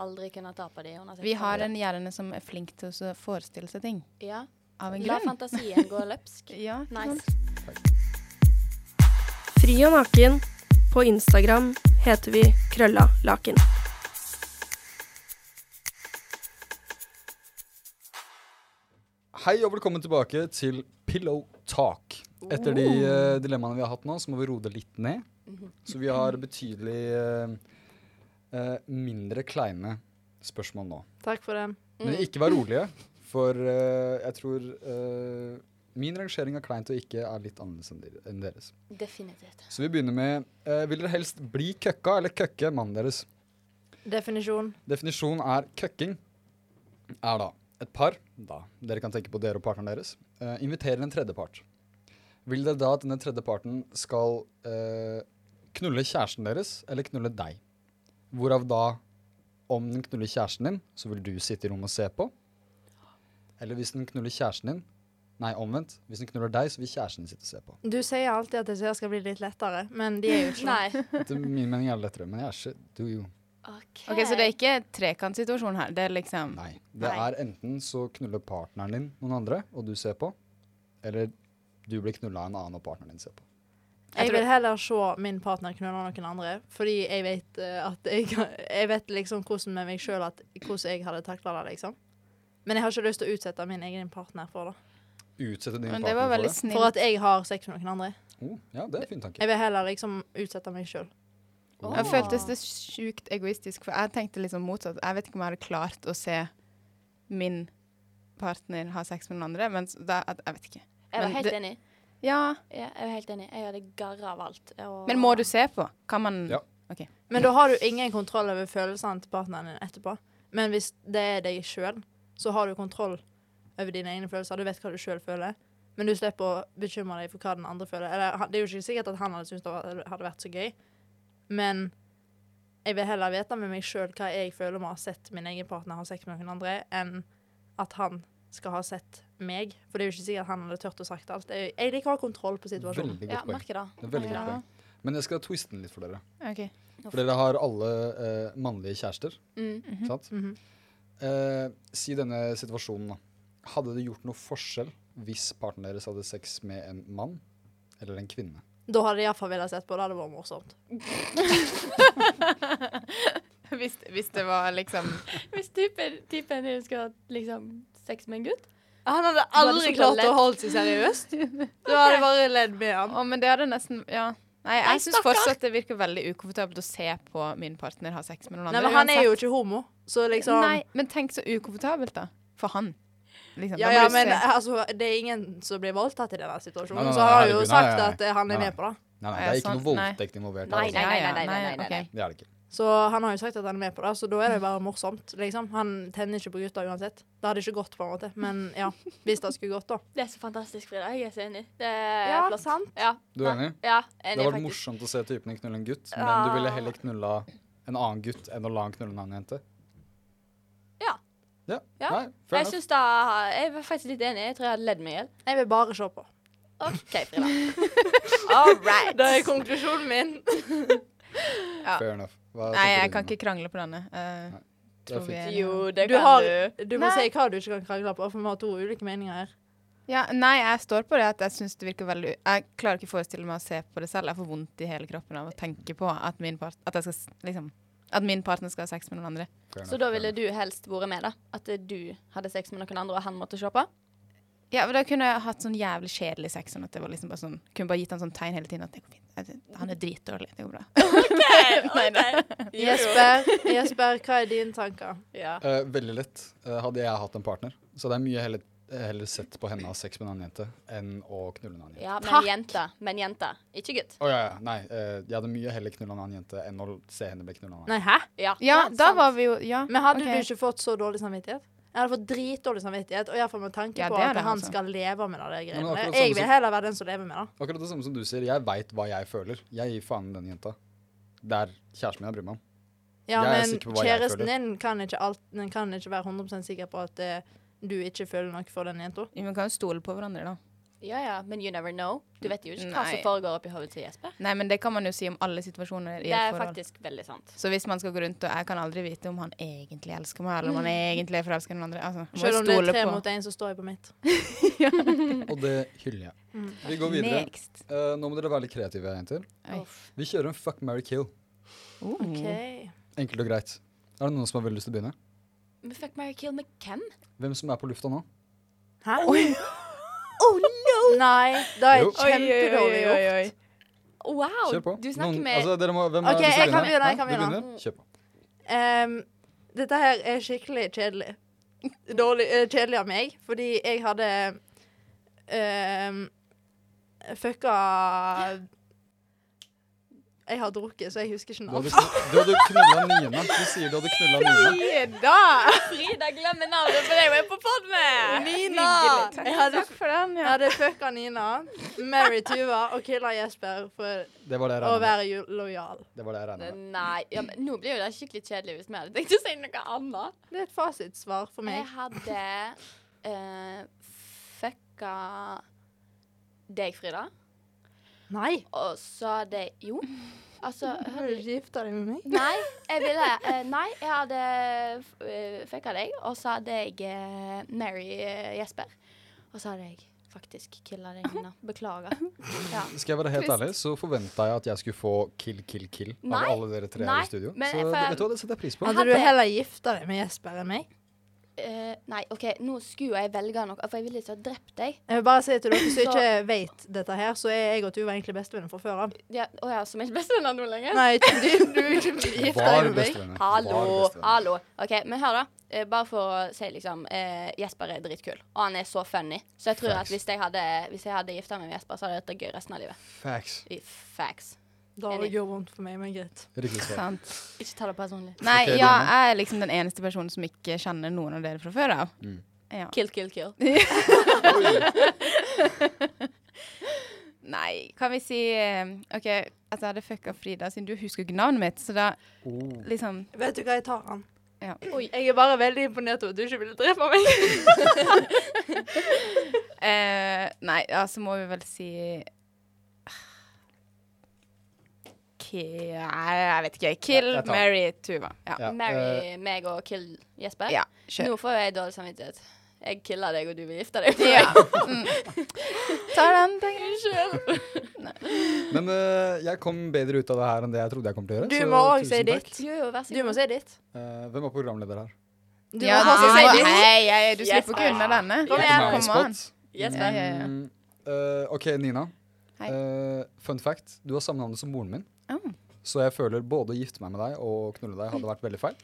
Aldri kunne ta på de under sitt
Vi har en hjerne som er flink til å så forestille seg ting.
Ja.
Av en
La
grunn.
fantasien gå løpsk.
Ja, ikke sant?
Nice.
Fri og naken. På Instagram heter vi Krølla Laken.
Hei og velkommen tilbake til Pillow Talk. Etter de eh, dilemmaene vi har hatt nå, så må vi roe det litt ned.
Mhm.
Så vi har betydelig eh, eh, mindre kleine spørsmål nå.
Takk for det.
Men ikke vær rolige, for eh, jeg tror eh, min rangering av kleint og ikke er litt annerledes enn de- enn deres.
Definitivt.
Så vi begynner med eh, Vil dere helst bli køkka eller køkke mannen deres?
Definisjon.
Definisjonen er køkking er da et par da, Dere kan tenke på dere og partneren deres. eh, inviterer en tredjepart. Vil dere da at denne tredjeparten skal eh, knulle kjæresten deres eller knulle deg? Hvorav da, om den knuller kjæresten din, så vil du sitte i rommet og se på. Eller hvis den knuller kjæresten din Nei, omvendt. Hvis den knuller deg, så vil kjæresten din sitte og se på.
Du sier alltid at dessert skal bli litt lettere, men de er jo ikke det.
Nei.
Etter min mening er det lettere, men jeg er ikke Do you?
OK.
Ok, Så det er ikke trekantsituasjon her. Det er liksom
Nei. Det er enten så knuller partneren din noen andre, og du ser på, eller du blir knulla av en annen og partneren din ser på.
Jeg vil heller se min partner knulle noen andre, fordi jeg vet eh, at jeg, jeg vet liksom hvordan med meg sjøl hvordan jeg hadde takla det, liksom. Men jeg har ikke lyst til å utsette min egen partner for det.
Utsette din
Men det
partner
var
for
veldig
det.
snilt.
For at jeg har sex med noen andre.
Oh, ja, det er en fin tanke.
Jeg vil heller liksom utsette meg sjøl.
Oh.
Jeg føltes det sjukt egoistisk, for jeg tenkte liksom motsatt. Jeg vet ikke om jeg hadde klart å se min partner ha sex med noen andre, men s- da, at, jeg vet ikke.
Jeg var
Men
helt
det-
enig.
Ja,
Ja, jeg var helt enig. Jeg hadde garra av alt. og-
men må du se på? Kan man
Ja.
Men da har du ingen kontroll over følelsene til partneren din etterpå. Men hvis det er deg sjøl, så har du kontroll over dine egne følelser. Du vet hva du sjøl føler. Men du slipper å bekymre deg for hva den andre føler. Eller, han- det er jo ikke sikkert at han hadde syntes det var- hadde vært så gøy, men jeg vil heller vite med meg sjøl hva jeg føler om å ha sett min egen partner ha sex med noen andre, enn at han skal ha sett meg. For det er jo ikke sikkert han hadde tørt å sagt alt. Jeg, jeg liker å ha kontroll på situasjonen.
Veldig
Ja,
godt poeng.
merker det.
Det er veldig
Ja.
godt poeng. Men jeg skal twiste den litt for dere.
OK.
For dere har alle eh, mannlige kjærester.
Mm.
Sant?
Mhm.
Eh, si denne situasjonen, da. Hadde det gjort noe forskjell hvis partneren deres hadde sex med en mann eller en kvinne?
Da hadde jeg iallfall villet sett på. Det hadde vært morsomt.
Hvis, hvis det var liksom
Hvis typen, typen din skulle hatt liksom sex med en gutt
Han hadde
aldri klart å
holde seg seriøst. Da hadde jeg bare ledd med han.
Å, men det hadde nesten Ja. Nei,
Nei,
jeg syns
stakkar!
fortsatt det virker veldig ukomfortabelt å se på min partner ha sex med noen
Nei,
andre.
men han er
uansett.
jo ikke homo, så liksom
Nei, men tenk så ukomfortabelt, da. For han. Liksom,
Ja,
da må
ja,
du
men
se.
altså, det er ingen som blir voldtatt i denne situasjonen,
Nei, nei,
så han har
nei,
jo
herregud, nei,
sagt
nei, nei.
at eh, han
Nei,
er
nei.
med på
Nei,
det.
nei,
Er
det
jeg
er ikke noe
sånn? Nei.
voldtekt involvert. her,
Nei,
altså.
nei, nei,
Ja,
nei,
ja,
nei,
nei,
nei, nei.
ok.
Det er det ikke.
Så han har jo sagt at han er med på det, så da er det bare morsomt, liksom. Han tenner ikke på gutter uansett. Det hadde ikke gått, på en måte, men ja. Hvis det skulle gått, da.
Det er så fantastisk, Frida. Jeg er så enig. Det er flott.
sant?
Ja.
Du er enig?
Ja,
Det
enig,
hadde vært
faktisk.
morsomt å se typen din knulle en gutt, men
Ja.
du ville heller knulla en annen gutt enn å la han knulle en annen jente?
Ja.
Ja,
Ja.
Nei, fair
Jeg
enough.
synes da Jeg var faktisk litt enig. Jeg tror jeg hadde ledd meg i hjel.
Jeg vil bare se på.
OK, Frida. All right.
Det er konklusjonen min.
Fair enough. Hva tenker
Nei, jeg
du,
kan
Nina?
ikke krangle på denne. Eh,
Nei, Det
tror
er
vi
fint.
er-
Jo, det
Du,
kan
har,
du.
du må
Nei.
si hva du ikke kan krangle på, for vi har to ulike meninger her.
Ja, nei, jeg står på det at jeg synes det virker veldig Jeg klarer ikke å forestille meg å se på det selv. Jeg får vondt i hele kroppen av å tenke på at min, part, at jeg skal, s- liksom, at min partner skal ha sex med noen andre.
Fair
Så
enough,
da
fair
ville
enough.
du helst vært med, da? At eh, du hadde sex med noen andre, og han måtte se på?
Ja, men Da kunne jeg hatt sånn jævlig kjedelig sex. Sånn at det var liksom bare sånn, kunne bare gitt han sånn tegn hele tiden at det går fint. Jeg- Han er dritdårlig. Det går bra. Nei, nei.
Jesper, Jesper, hva er dine tanker?
Ja.
Eh, veldig lett. Eh, hadde jeg hatt en partner, så hadde jeg mye heller, eh, heller sett på henne ha sex med en annen jente enn å knulle en annen jente.
ja men
Takk.
jente. Men jente. Ikke gutt.
Å ja, ja. Nei, eh, jeg hadde mye heller knulla en annen jente enn å se henne bli knulla.
Nei, hæ?
Ja,
Ja, da
sant.
var vi jo Ja.
Men hadde
ok.
du ikke fått så dårlig samvittighet? Jeg hadde fått dritdårlig samvittighet, og iallfall med tanke
Ja,
på
det er
at
det,
han
altså.
skal leve med
Men
det.
det
greiene.
er akkurat
Jeg
samme
vil
som-
heller være den som lever med det.
Akkurat det samme som du sier. Jeg veit hva jeg føler. Jeg gir faen i den jenta. Det er kjæresten min jeg bryr meg om.
Ja,
Jeg er
men
sikker på hva jeg
kjæresten
føler.
din kan ikke, alt, den kan ikke være 100 sikker på at eh, du ikke føler noe for den jenta.
Vi kan jo stole på hverandre, da.
Ja, ja, men you never know. Du vet jo ikke hva som
Nei.
foregår oppi hodet til Jesper.
Nei, men det kan man jo si om alle situasjoner i
Det
et
er
forhold.
faktisk veldig sant.
Så hvis man skal gå rundt og Jeg kan aldri vite om han egentlig elsker meg, eller om han egentlig er forelska i den andre. Altså, må
Selv om det er
stole
tre
på.
mot én, så står jeg på mitt.
Og det hyller jeg.
Mm.
Vi går videre.
Next.
Eh, nå må dere være litt kreative, jenter.
Oi.
Uff.
Vi kjører en fuck, marry, kill.
Oh.
OK.
Enkelt og greit. Er det noen som har veldig lyst til å begynne?
Men fuck Mary Kill med hvem?
Hvem som er på lufta nå?
Hæ? Nei, da er
Jo.
jeg kjempedårlig gjort.
Wow!
Kjør på.
Du snakker
Noen-
med
altså, dere må, hvem er
Ok,
det som
jeg kan
begynner?
begynne,
Hæ?
jeg kan
Du
begynne.
begynner? Kjør på.
Ehm, dette her er skikkelig kjedelig. Dårlig, eh, kjedelig av meg, fordi jeg hadde ehm, fucka Jeg har drukket, så jeg husker ikke
Du
navn.
hadde, kn- du hadde knulla Nina. Du sier du hadde knulla Nina.
Frida glemmer navnet, for det var jeg på pod med!
Nina! Jeg hadde,
Takk for den.
jeg
Ja.
hadde fucka Nina, Mary Tuva og killa Jesper for
Det var det jeg
å
regna med.
være ju- lojal.
Det var det jeg regnet med.
Nei, ja, men nå blir jo det skikkelig kjedelig hvis vi hadde tenkt å si noe annet.
Det er et fasitsvar for
Jeg
meg.
hadde eh, fucka deg, Frida.
Nei!
Og så hadde jeg Jo. Altså
Har du gifta deg med meg?
Nei, jeg ville eh, Nei, jeg hadde uh, fucka deg, og så hadde jeg eh, Mary eh, Jesper. Og så hadde jeg faktisk killa deg, Nina. Beklager. Ja.
Skal jeg være helt ærlig, så forventa jeg at jeg skulle få kill, kill, kill av
Nei.
alle dere tre her
Nei,
i studio.
men
Så
jeg
det-
får-
vet du hva, det setter jeg pris på.
Hadde du heller gifta deg med Jesper enn meg?
Eh, nei, OK, nå skulle jeg velge noe, for jeg ville ikke ha drept deg.
Jeg vil bare si til dere som
Så-
ikke vet dette her, så er jeg og Tuva egentlig bestevenner fra før av.
Ja, å ja, som ikke bestevenner nå lenger?
Nei, ikke fordi du ikke blir gift
Var
med meg.
bestevenner. Var
Hallo,
bestevenner.
hallo. OK, men hør, da. Eh, bare for å si, liksom eh, Jesper er dritkul, og han er så funny. Så jeg tror
Facts.
at hvis jeg hadde, hvis jeg hadde gifta meg med Jesper, så hadde dette vært gøy resten av livet.
Facts.
I facts.
Da det gjør vondt for meg, men greit.
Riktig svar.
Sant.
Ikke ta det personlig.
Nei,
Ok,
ja,
Lene.
jeg er liksom den eneste personen som ikke kjenner noen av dere fra før av.
Mm.
Ja.
Kill, kill, kill.
Nei, kan vi si eh, OK, at jeg hadde fucka Frida, siden du husker ikke navnet mitt, så da
Oh.
liksom
Vet du hva, jeg tar han.
Ja.
Oi, jeg er bare veldig imponert over at du ikke ville drepe meg.
Eh, nei, ja, så må vi vel si Ki- Nei, jeg vet ikke.
Jeg-
Kill,
jeg tar.
Mary, Tuva. Ja.
Ja, eh,
Marry meg og kill Jesper.
ja, kjør.
Nå får jeg dårlig samvittighet. Jeg killer deg, og du vil gifte deg med
Ja.
meg.
Mm. Ta den, tenker jeg.
Men eh, jeg kom bedre ut av det her enn det jeg trodde jeg kom til å gjøre.
Du
så
må òg
tusen
si
takk.
ditt.
Jo, jo, vær så
Du må si ditt.
Eh, hvem er programleder her?
Du
Ja,
må
du,
også si ditt.
hei, hei, du
Yes,
slipper ikke unna denne.
Kom igjen.
Kom an.
Jesper.
Ja, ja, ja.
Mm, eh, OK, Nina.
Hei.
Eh, fun fact. Du har samme navn som moren min.
Oh.
Så jeg føler både å gifte meg med deg og knulle deg hadde vært veldig feil.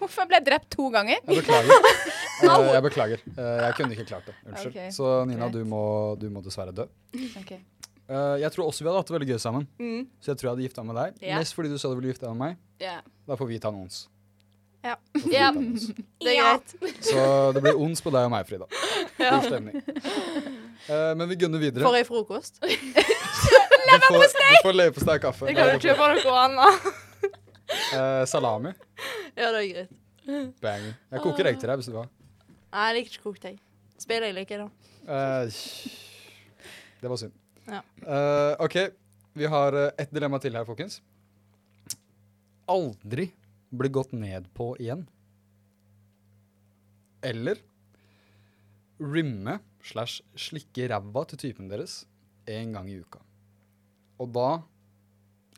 Hvorfor ble jeg drept to ganger?
Jeg beklager. Eh, jeg beklager. Eh, jeg kunne ikke klart det. Unnskyld.
Ok,
Så Nina, du må, du må dessverre dø. Eh, jeg tror også vi hadde hatt det veldig gøy sammen,
Mm.
så jeg tror jeg hadde gifta meg med deg.
Ja.
Mest fordi du sa du ville gifte deg med meg.
Ja.
Da får vi ta en ons.
Ja.
Da får vi
Ja.
ta en ons.
Det er greit.
Så det blir ons på deg og meg, Frida. God stemning. Eh, men vi gunner videre.
Får jeg frokost?
Leverpostei! Du får leverpostei og kaffe.
Jeg kan jo kjøpe noe annet.
Eh, salami.
Ja, det er greit.
Bang. Jeg koker egg til deg hvis du vil ha.
Nei, jeg liker ikke kokt egg. Spiller jeg liker da.
Eh, det var synd.
Ja.
Eh, OK, vi har eh, ett dilemma til her, folkens. Aldri bli gått ned på igjen. Eller rimme slash slikke ræva til typen deres én gang i uka. Og da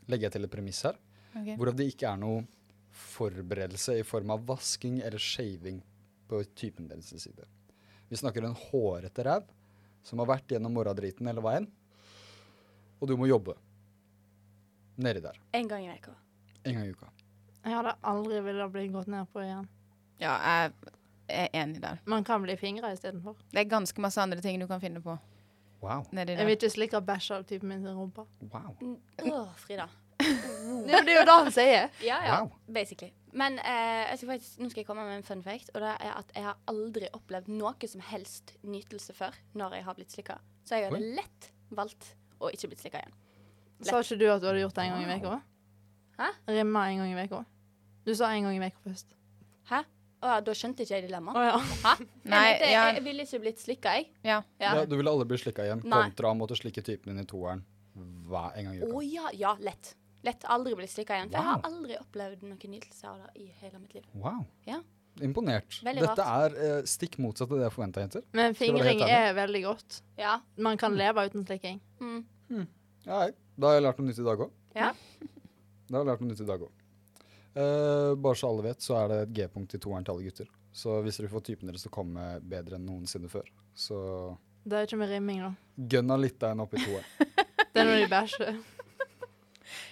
legger jeg til et premiss her,
Ok.
hvorav det ikke er noe forberedelse i form av vasking eller shaving på typen deres side. Vi snakker en hårete ræv som har vært gjennom morgendriten hele veien, og du må jobbe nedi der
En gang i uka.
en gang i uka.
Jeg hadde aldri villet bli gått ned på igjen.
Ja, jeg er enig der.
Man kan bli fingra istedenfor.
Det er ganske masse andre ting du kan finne på
Wow.
nedi
Jeg
der.
vil ikke slikke bæsj av typen min sin rumpe.
Wow.
Å, Frida.
Det er jo det han sier.
Ja, ja.
Wow.
Basically. Men eh, jeg skal faktisk, nå skal jeg komme med en fun fact. Og det er at jeg har aldri opplevd noe som helst nytelse før når jeg har blitt slikka. Så jeg hadde
Oi.
lett valgt å ikke blitt slikka igjen.
Sa ikke du at du hadde gjort det en gang i veka?
Hæ?
Rimma en gang i veka. Du sa en gang i veka først.
Hæ? Å ja, da skjønte ikke jeg dilemmaet.
Å ja.
Hæ? Nei,
jeg, mente,
ja,
jeg, jeg ville ikke blitt slikka, jeg.
ja.
Ja.
Ja, du ville aldri bli slikka igjen,
Nei.
kontra å måtte slikke typen din i toeren hver en gang i
Å
uka.
ja, ja, lett. Lett. Aldri bli slikka igjen. For jeg
Wow.
har aldri opplevd noen nytelse av det i hele mitt liv.
Wow.
Ja.
Imponert.
Veldig
Dette er eh, stikk motsatt av det jeg forventa, jenter.
Men
Skal vi være helt
fingring
ærlig?
er veldig godt.
Ja.
Man kan leve uten slikking.
Mm.
Ja, hei. da har jeg lært noe nytt i dag òg.
Ja.
Da har jeg lært noe nytt i dag òg. bare så alle vet, så er det et G-punkt i toeren til alle gutter. Så hvis dere får typen deres til å komme bedre enn noensinne før, så
Det er ikke med rimming, da.
gønna litt der enn opp i toeren.
Det er når de bæsjer.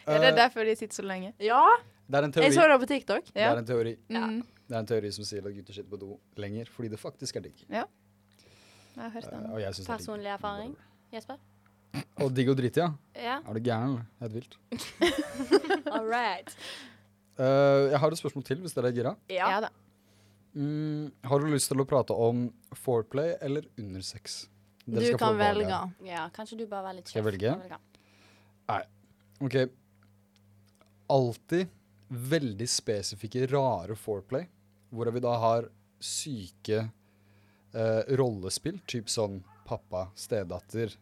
Er det
Eh,
derfor de sitter så lenge?
Ja,
det er en
jeg
teori.
så det på TikTok.
Det
Ja.
er en teori.
Mm.
Det er en teori som sier at gutter sitter på do lenger fordi det faktisk er digg.
Jeg har hørt
Eh,
den.
og jeg synes det er digg.
Personlig erfaring. Jesper?
Og digg og drite, ja.
Ja?
Er du gæren? eller? Helt vilt.
All right.
Eh, jeg har et spørsmål til, hvis dere er gira.
Ja.
Ja da.
Mm, har du lyst til å prate om foreplay eller under sex? Dere
Du
skal
kan
få
velge.
ja. Kanskje du bare var litt
Skal jeg
sjef.
velge? OK. Alltid veldig spesifikke, rare foreplay, hvor vi da har syke eh, rollespill, typ sånn pappa, stedatter,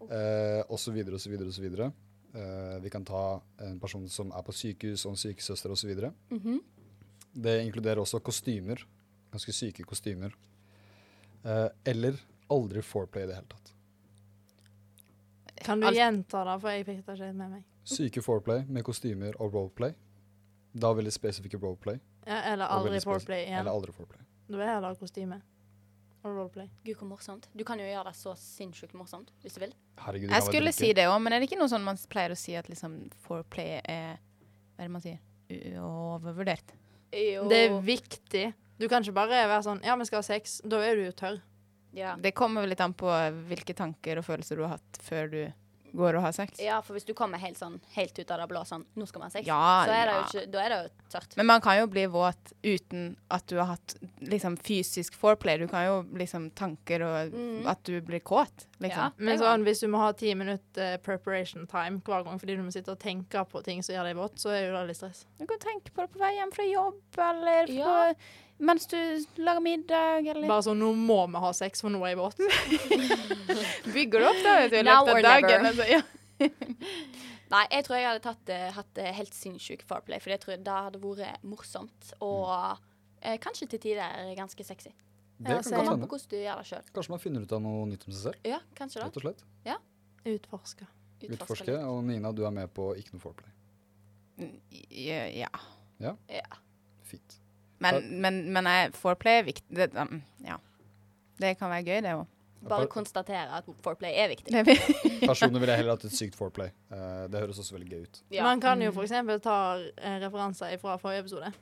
eh, osv., osv., osv. Eh, Vi kan ta en person som er på sykehus, og en sykesøster osv.
Mhm.
Det inkluderer også kostymer. Ganske syke kostymer. Eh, eller aldri foreplay i det hele tatt.
Kan du
Alt-
gjenta det, for jeg fikk det ikke helt med meg.
Syke foreplay med kostymer og roleplay. Da veldig spesifikke roleplay.
Ja, eller
Og
aldri
veldig spes-
foreplay igjen.
Eller aldri foreplay.
Da er det kostyme. Og roleplay.
Gud, hvor morsomt. Du kan jo gjøre det så sinnssykt morsomt hvis du vil.
Herregud,
Jeg skulle si det òg, men er det ikke noe sånn man pleier å si at liksom foreplay er Hva er det man sier? U- Overvurdert.
Jo.
Det er viktig. Du kan ikke bare være sånn Ja, vi skal ha sex. Da er du jo tørr.
ja.
Det kommer vel litt an på hvilke tanker og følelser du har hatt før du går og har sex.
ja, for hvis du kommer helt sånn helt ut av det blå sånn Nå skal man ha sex.
Ja,
så er det jo
ja.
ikke Da er det jo tørt.
Men man kan jo bli våt uten at du har hatt liksom, fysisk foreplay. Du kan jo liksom tanker og
Mm.
at du blir kåt, liksom.
det
Men
går an.
sånn, hvis du må ha ti minutter eh, preparation time hver gang fordi du må sitte og tenke på ting som gjør deg våt, så er jo det litt stress.
Du kan tenke på det på vei hjem fra jobb eller på,
Ja.
mens du lager middag eller
Bare sånn Nå må vi ha sex, for nå er jeg våt.
Bygger det opp da, vet du, i
Now
løpet
or
av
never.
dagen. Altså, ja.
Nei, jeg tror jeg hadde tatt, eh, hatt eh, helt sinnssyk foreplay, for jeg tror det hadde vært morsomt og eh, kanskje til tider ganske sexy.
Det
Ja,
Kommer an
kan godt
så
på
hende.
hvordan du gjør det sjøl.
Kanskje man finner ut av noe nytt om seg selv.
Ja, kanskje det.
rett og slett.
Utforska.
Utforske. Og Nina, du er med på ikke noe foreplay.
Ja, ja.
Fint.
Men, men, men jeg, foreplay er viktig. Det, um, ja. det kan være gøy, det òg.
Bare konstatere at foreplay er viktig.
Det er vi-
Personlig ville jeg heller hatt et sykt foreplay. Eh, det høres også veldig gøy ut.
Ja,
Man kan jo for eksempel ta eh, referanser fra forrige episode.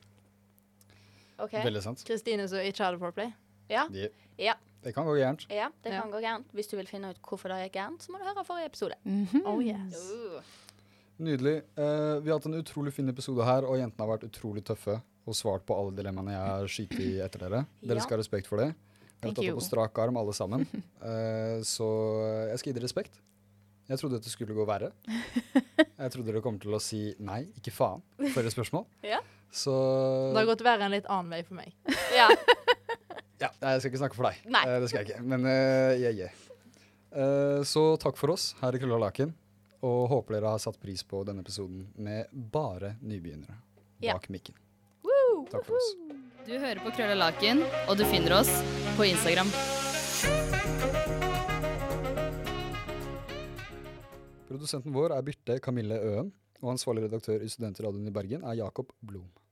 ok.
Veldig sant.
Kristine som ikke hadde foreplay.
Ja,
De,
Ja.
Det kan gå gærent.
ja, det
Ja.
kan gå gærent. Hvis du vil finne ut hvorfor det gikk gærent, så må du høre forrige episode. Uh.
Mhm.
Oh yes.
Nydelig. Eh, vi har hatt en utrolig fin episode her, og jentene har vært utrolig tøffe og svart på alle dilemmaene jeg har skutt i etter dere. Dere
Ja.
skal ha respekt for det. Jeg har
Thank
tatt det
you.
på strak arm, alle sammen. Eh, så jeg skal gi dere respekt. Jeg trodde dette skulle gå verre. Jeg trodde dere kom til å si nei, ikke faen, for et spørsmål.
Ja.
Så
Det har gått verre en litt annen vei for meg.
Ja.
ja, nei, Jeg skal ikke snakke for deg.
Nei.
Eh, det skal jeg ikke. Men eh, yeah, yeah. Eh, så takk for oss her i Krølla Laken, og håper dere har satt pris på denne episoden med bare nybegynnere
Ja.
bak mikken. Takk for oss.
Du hører på Krølla Laken, og du finner oss på Instagram.
Produsenten vår er Birte Kamille Øen, og ansvarlig redaktør i Studentradioen i Bergen er Jakob Blom.